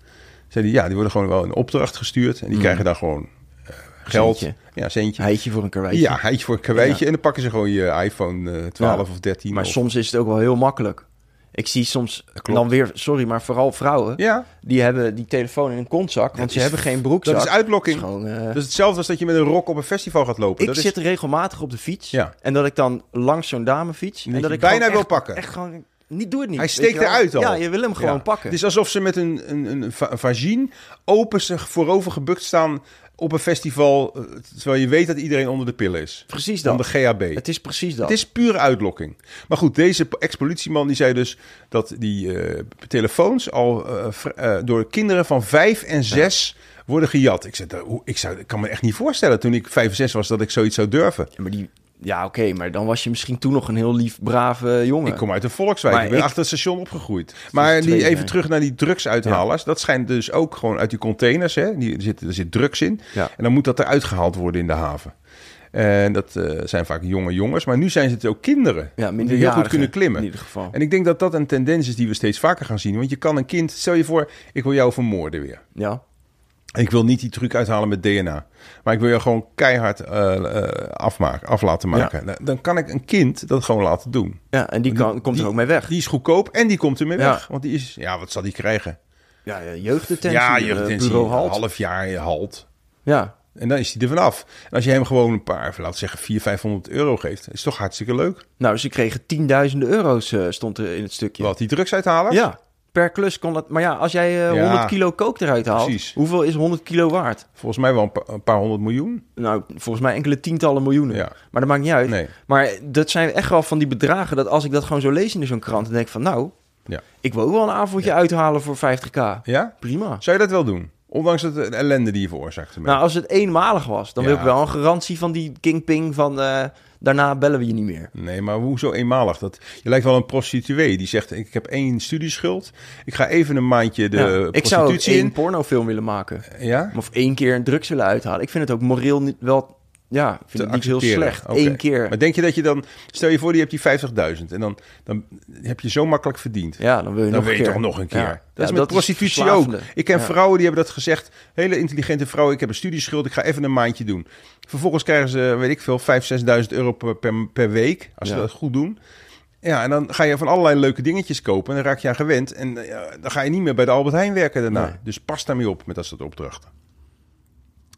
Speaker 2: Zei die, ja, die worden gewoon wel in opdracht gestuurd. En die krijgen daar gewoon eh, geld.
Speaker 1: Mm. Centje.
Speaker 2: Ja, centje.
Speaker 1: Heetje voor een karweitje.
Speaker 2: Ja, heidje voor een karweitje. En dan pakken ze gewoon je iPhone eh, 12
Speaker 1: Ja.
Speaker 2: of 13.
Speaker 1: Maar
Speaker 2: of-
Speaker 1: soms is het ook wel heel makkelijk. Ik zie soms dan weer, sorry, maar vooral vrouwen.
Speaker 2: Ja.
Speaker 1: Die hebben die telefoon in een kontzak, want ze
Speaker 2: is-
Speaker 1: hebben geen broekzak.
Speaker 2: dat is uitlokking.
Speaker 1: Dat is gewoon, eh,
Speaker 2: Dat is Dus hetzelfde als dat je met een rok op een festival gaat lopen.
Speaker 1: ik
Speaker 2: dat
Speaker 1: zit
Speaker 2: is,
Speaker 1: regelmatig op de fiets.
Speaker 2: Ja.
Speaker 1: En dat ik dan langs zo'n dame fiets. En
Speaker 2: je
Speaker 1: dat ik
Speaker 2: bijna
Speaker 1: gewoon
Speaker 2: wil
Speaker 1: echt-
Speaker 2: pakken.
Speaker 1: Echt gewoon, niet, doe het niet.
Speaker 2: Hij
Speaker 1: weet
Speaker 2: steekt
Speaker 1: je wel.
Speaker 2: eruit al.
Speaker 1: Ja, je wil hem gewoon
Speaker 2: Ja.
Speaker 1: pakken.
Speaker 2: Het is alsof ze met een, een, een va- vagine open zich voorover gebukt staan op een festival. eh, Terwijl je weet dat iedereen onder de pillen is.
Speaker 1: precies
Speaker 2: Van
Speaker 1: dat.
Speaker 2: de GHB.
Speaker 1: Het is precies dat.
Speaker 2: Het is pure uitlokking. Maar goed, deze ex-politieman die zei dus dat die eh, telefoons al eh, vr- eh, door kinderen van vijf en zes worden gejat. Ik, zei, "Hoe- ik, zou, ik kan me echt niet voorstellen toen ik vijf en zes was dat ik zoiets zou durven.
Speaker 1: Ja, maar die Ja, oké, maar dan was je misschien toen nog een heel lief, brave jongen.
Speaker 2: Ik kom uit een volkswijk.
Speaker 1: Maar
Speaker 2: ik ben
Speaker 1: ik- Dus
Speaker 2: achter het station opgegroeid. Maar die,
Speaker 1: tweede,
Speaker 2: even
Speaker 1: ja.
Speaker 2: terug naar die drugsuithalers. Dat schijnt dus ook gewoon uit die containers. Hè? Die, er, zit, er zit drugs in.
Speaker 1: Ja.
Speaker 2: En dan moet dat eruit gehaald worden in de haven. En dat eh, zijn vaak jonge jongens. Maar nu zijn het ook kinderen.
Speaker 1: Ja,
Speaker 2: die heel goed
Speaker 1: minderjarigen,
Speaker 2: kunnen klimmen.
Speaker 1: in ieder geval.
Speaker 2: En ik denk dat dat een tendens is die we steeds vaker gaan zien. Want je kan een kind... Stel je voor, ik wil jou vermoorden weer.
Speaker 1: Ja,
Speaker 2: Ik wil niet die truc uithalen met DNA. Maar ik wil je gewoon keihard eh, eh, afmaken, af laten maken. Nou, Dan kan ik een kind dat gewoon laten doen.
Speaker 1: ja en die, kan, komt er ook mee weg.
Speaker 2: Die is goedkoop en die komt er mee
Speaker 1: Ja.
Speaker 2: weg. Want die is, ja, wat zal die krijgen?
Speaker 1: ja, ja, jeugddetentie,
Speaker 2: ja,
Speaker 1: eh,
Speaker 2: jeugddetentie,
Speaker 1: bureau halt.
Speaker 2: een half jaar halt.
Speaker 1: Ja,
Speaker 2: En dan is hij er vanaf. En als je hem gewoon een paar, even laten we zeggen, 400, 500 euro geeft, is toch hartstikke leuk.
Speaker 1: nou, ze kregen tienduizenden euro's, eh, stond er in het stukje.
Speaker 2: Wat die drugs uithalen?
Speaker 1: Ja, per klus kon dat. Maar ja, als jij eh,
Speaker 2: Ja.
Speaker 1: 100 kilo kook eruit haalt,
Speaker 2: Precies.
Speaker 1: hoeveel is 100 kilo waard?
Speaker 2: Volgens mij wel een paar, een paar honderd miljoen.
Speaker 1: Nou, volgens mij enkele tientallen miljoenen.
Speaker 2: Ja.
Speaker 1: Maar dat maakt niet uit.
Speaker 2: Nee.
Speaker 1: Maar dat zijn echt wel van die bedragen dat als ik dat gewoon zo lees in zo'n krant, dan denk ik van nou,
Speaker 2: Ja.
Speaker 1: ik wil ook wel een avondje uithalen voor 50k.
Speaker 2: Ja?
Speaker 1: Prima.
Speaker 2: Zou je dat wel doen? Ondanks het eh, ellende die je veroorzaakt. ermee.
Speaker 1: Nou, als het eenmalig was, dan wil
Speaker 2: Ja.
Speaker 1: ik wel een garantie van die kingping van eh, daarna bellen we je niet meer.
Speaker 2: Nee, maar hoezo eenmalig? Dat, je lijkt wel een prostituee die zegt: Ik heb één studieschuld. Ik ga even een maandje de
Speaker 1: Ja.
Speaker 2: prostitutie
Speaker 1: Ik zou ook één
Speaker 2: in.
Speaker 1: pornofilm willen maken.
Speaker 2: Ja?
Speaker 1: Of één keer een drugs willen uithalen. Ik vind het ook moreel niet wel... Ja, ik vind
Speaker 2: te
Speaker 1: het niet heel
Speaker 2: accepteren.
Speaker 1: slecht.
Speaker 2: Oké.
Speaker 1: Eén keer.
Speaker 2: Maar denk je dat je dan, stel je voor, die hebt die 50.000 en dan, dan heb je zo makkelijk verdiend.
Speaker 1: Ja, dan wil je,
Speaker 2: Dan
Speaker 1: nog,
Speaker 2: wil
Speaker 1: een
Speaker 2: je
Speaker 1: keer.
Speaker 2: toch nog een keer.
Speaker 1: Ja.
Speaker 2: Dat
Speaker 1: Ja,
Speaker 2: is met prostitutie ook.
Speaker 1: verslavende.
Speaker 2: Ik ken
Speaker 1: Ja.
Speaker 2: vrouwen die hebben dat gezegd. Hele intelligente vrouwen. Ik heb een studieschuld. Ik ga even een maandje doen. Vervolgens krijgen ze, weet ik veel, 5.000, 6.000 euro per, per, per week. Als ze
Speaker 1: Ja.
Speaker 2: dat goed doen. Ja, en dan ga je van allerlei leuke dingetjes kopen. En dan raak je aan gewend. En eh, dan ga je niet meer bij de Albert Heijn werken daarna.
Speaker 1: Nee.
Speaker 2: Dus pas daarmee op met dat soort opdrachten.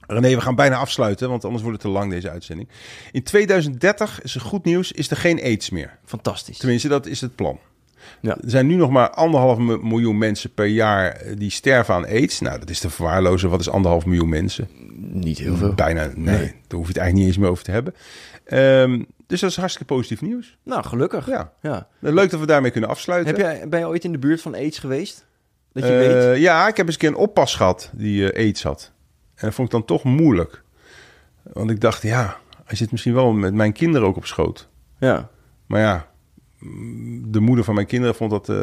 Speaker 2: René, we gaan bijna afsluiten, want anders wordt het te lang deze uitzending. In 2030 is er goed nieuws, is er geen aids meer.
Speaker 1: Fantastisch.
Speaker 2: Tenminste, dat is het plan.
Speaker 1: Ja.
Speaker 2: Er zijn nu nog maar anderhalf mi- miljoen mensen per jaar eh, die sterven aan aids. Nou, dat is te verwaarlozen. Wat is anderhalf miljoen mensen?
Speaker 1: Niet heel veel.
Speaker 2: Bijna, nee, daar hoef je het eigenlijk niet eens meer over te hebben. Ehm, dus dat is hartstikke positief nieuws.
Speaker 1: Nou, gelukkig.
Speaker 2: Ja.
Speaker 1: Ja.
Speaker 2: Leuk dat we daarmee kunnen afsluiten.
Speaker 1: Heb jij, ben je ooit in de buurt van AIDS geweest? Dat je
Speaker 2: Eh,
Speaker 1: weet?
Speaker 2: Ja, ik heb eens een keer een oppas gehad die eh, aids had. En dat vond ik dan toch moeilijk. Want ik dacht, ja, hij zit misschien wel met mijn kinderen ook op schoot.
Speaker 1: Ja.
Speaker 2: Maar ja, mm, de moeder van mijn kinderen vond dat eh,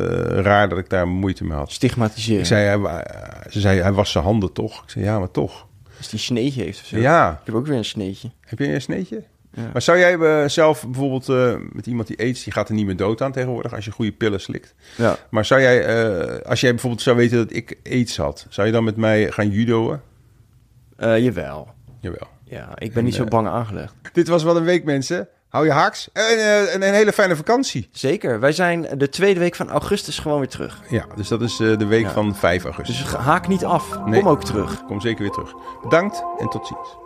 Speaker 2: raar dat ik daar moeite mee had.
Speaker 1: Stigmatiseren.
Speaker 2: Ik zei, hij, wa- ze zei, hij was zijn handen toch? Ik zei, ja, maar toch.
Speaker 1: Als die sneetje heeft of zo.
Speaker 2: Ja,
Speaker 1: Ik heb ook weer een sneetje.
Speaker 2: heb je een sneetje?
Speaker 1: Ja.
Speaker 2: Maar zou jij eh, zelf bijvoorbeeld eh, met iemand die aids, die gaat er niet meer dood aan tegenwoordig als je goede pillen slikt.
Speaker 1: Ja.
Speaker 2: Maar zou jij, eh, als jij bijvoorbeeld zou weten dat ik aids had, zou je dan met mij gaan judoën?
Speaker 1: Eh, jawel.
Speaker 2: Jawel.
Speaker 1: Ja, ik ben niet zo
Speaker 2: eh,
Speaker 1: bang aangelegd.
Speaker 2: Dit was wel een week, mensen. Hou je haaks en, eh, en een hele fijne vakantie.
Speaker 1: Zeker. Wij zijn de tweede week van augustus gewoon weer terug.
Speaker 2: Ja, dus dat is eh, de week
Speaker 1: Ja.
Speaker 2: van 5 augustus.
Speaker 1: Dus haak niet af.
Speaker 2: Nee.
Speaker 1: Kom ook terug.
Speaker 2: Kom zeker weer terug. Bedankt en tot ziens.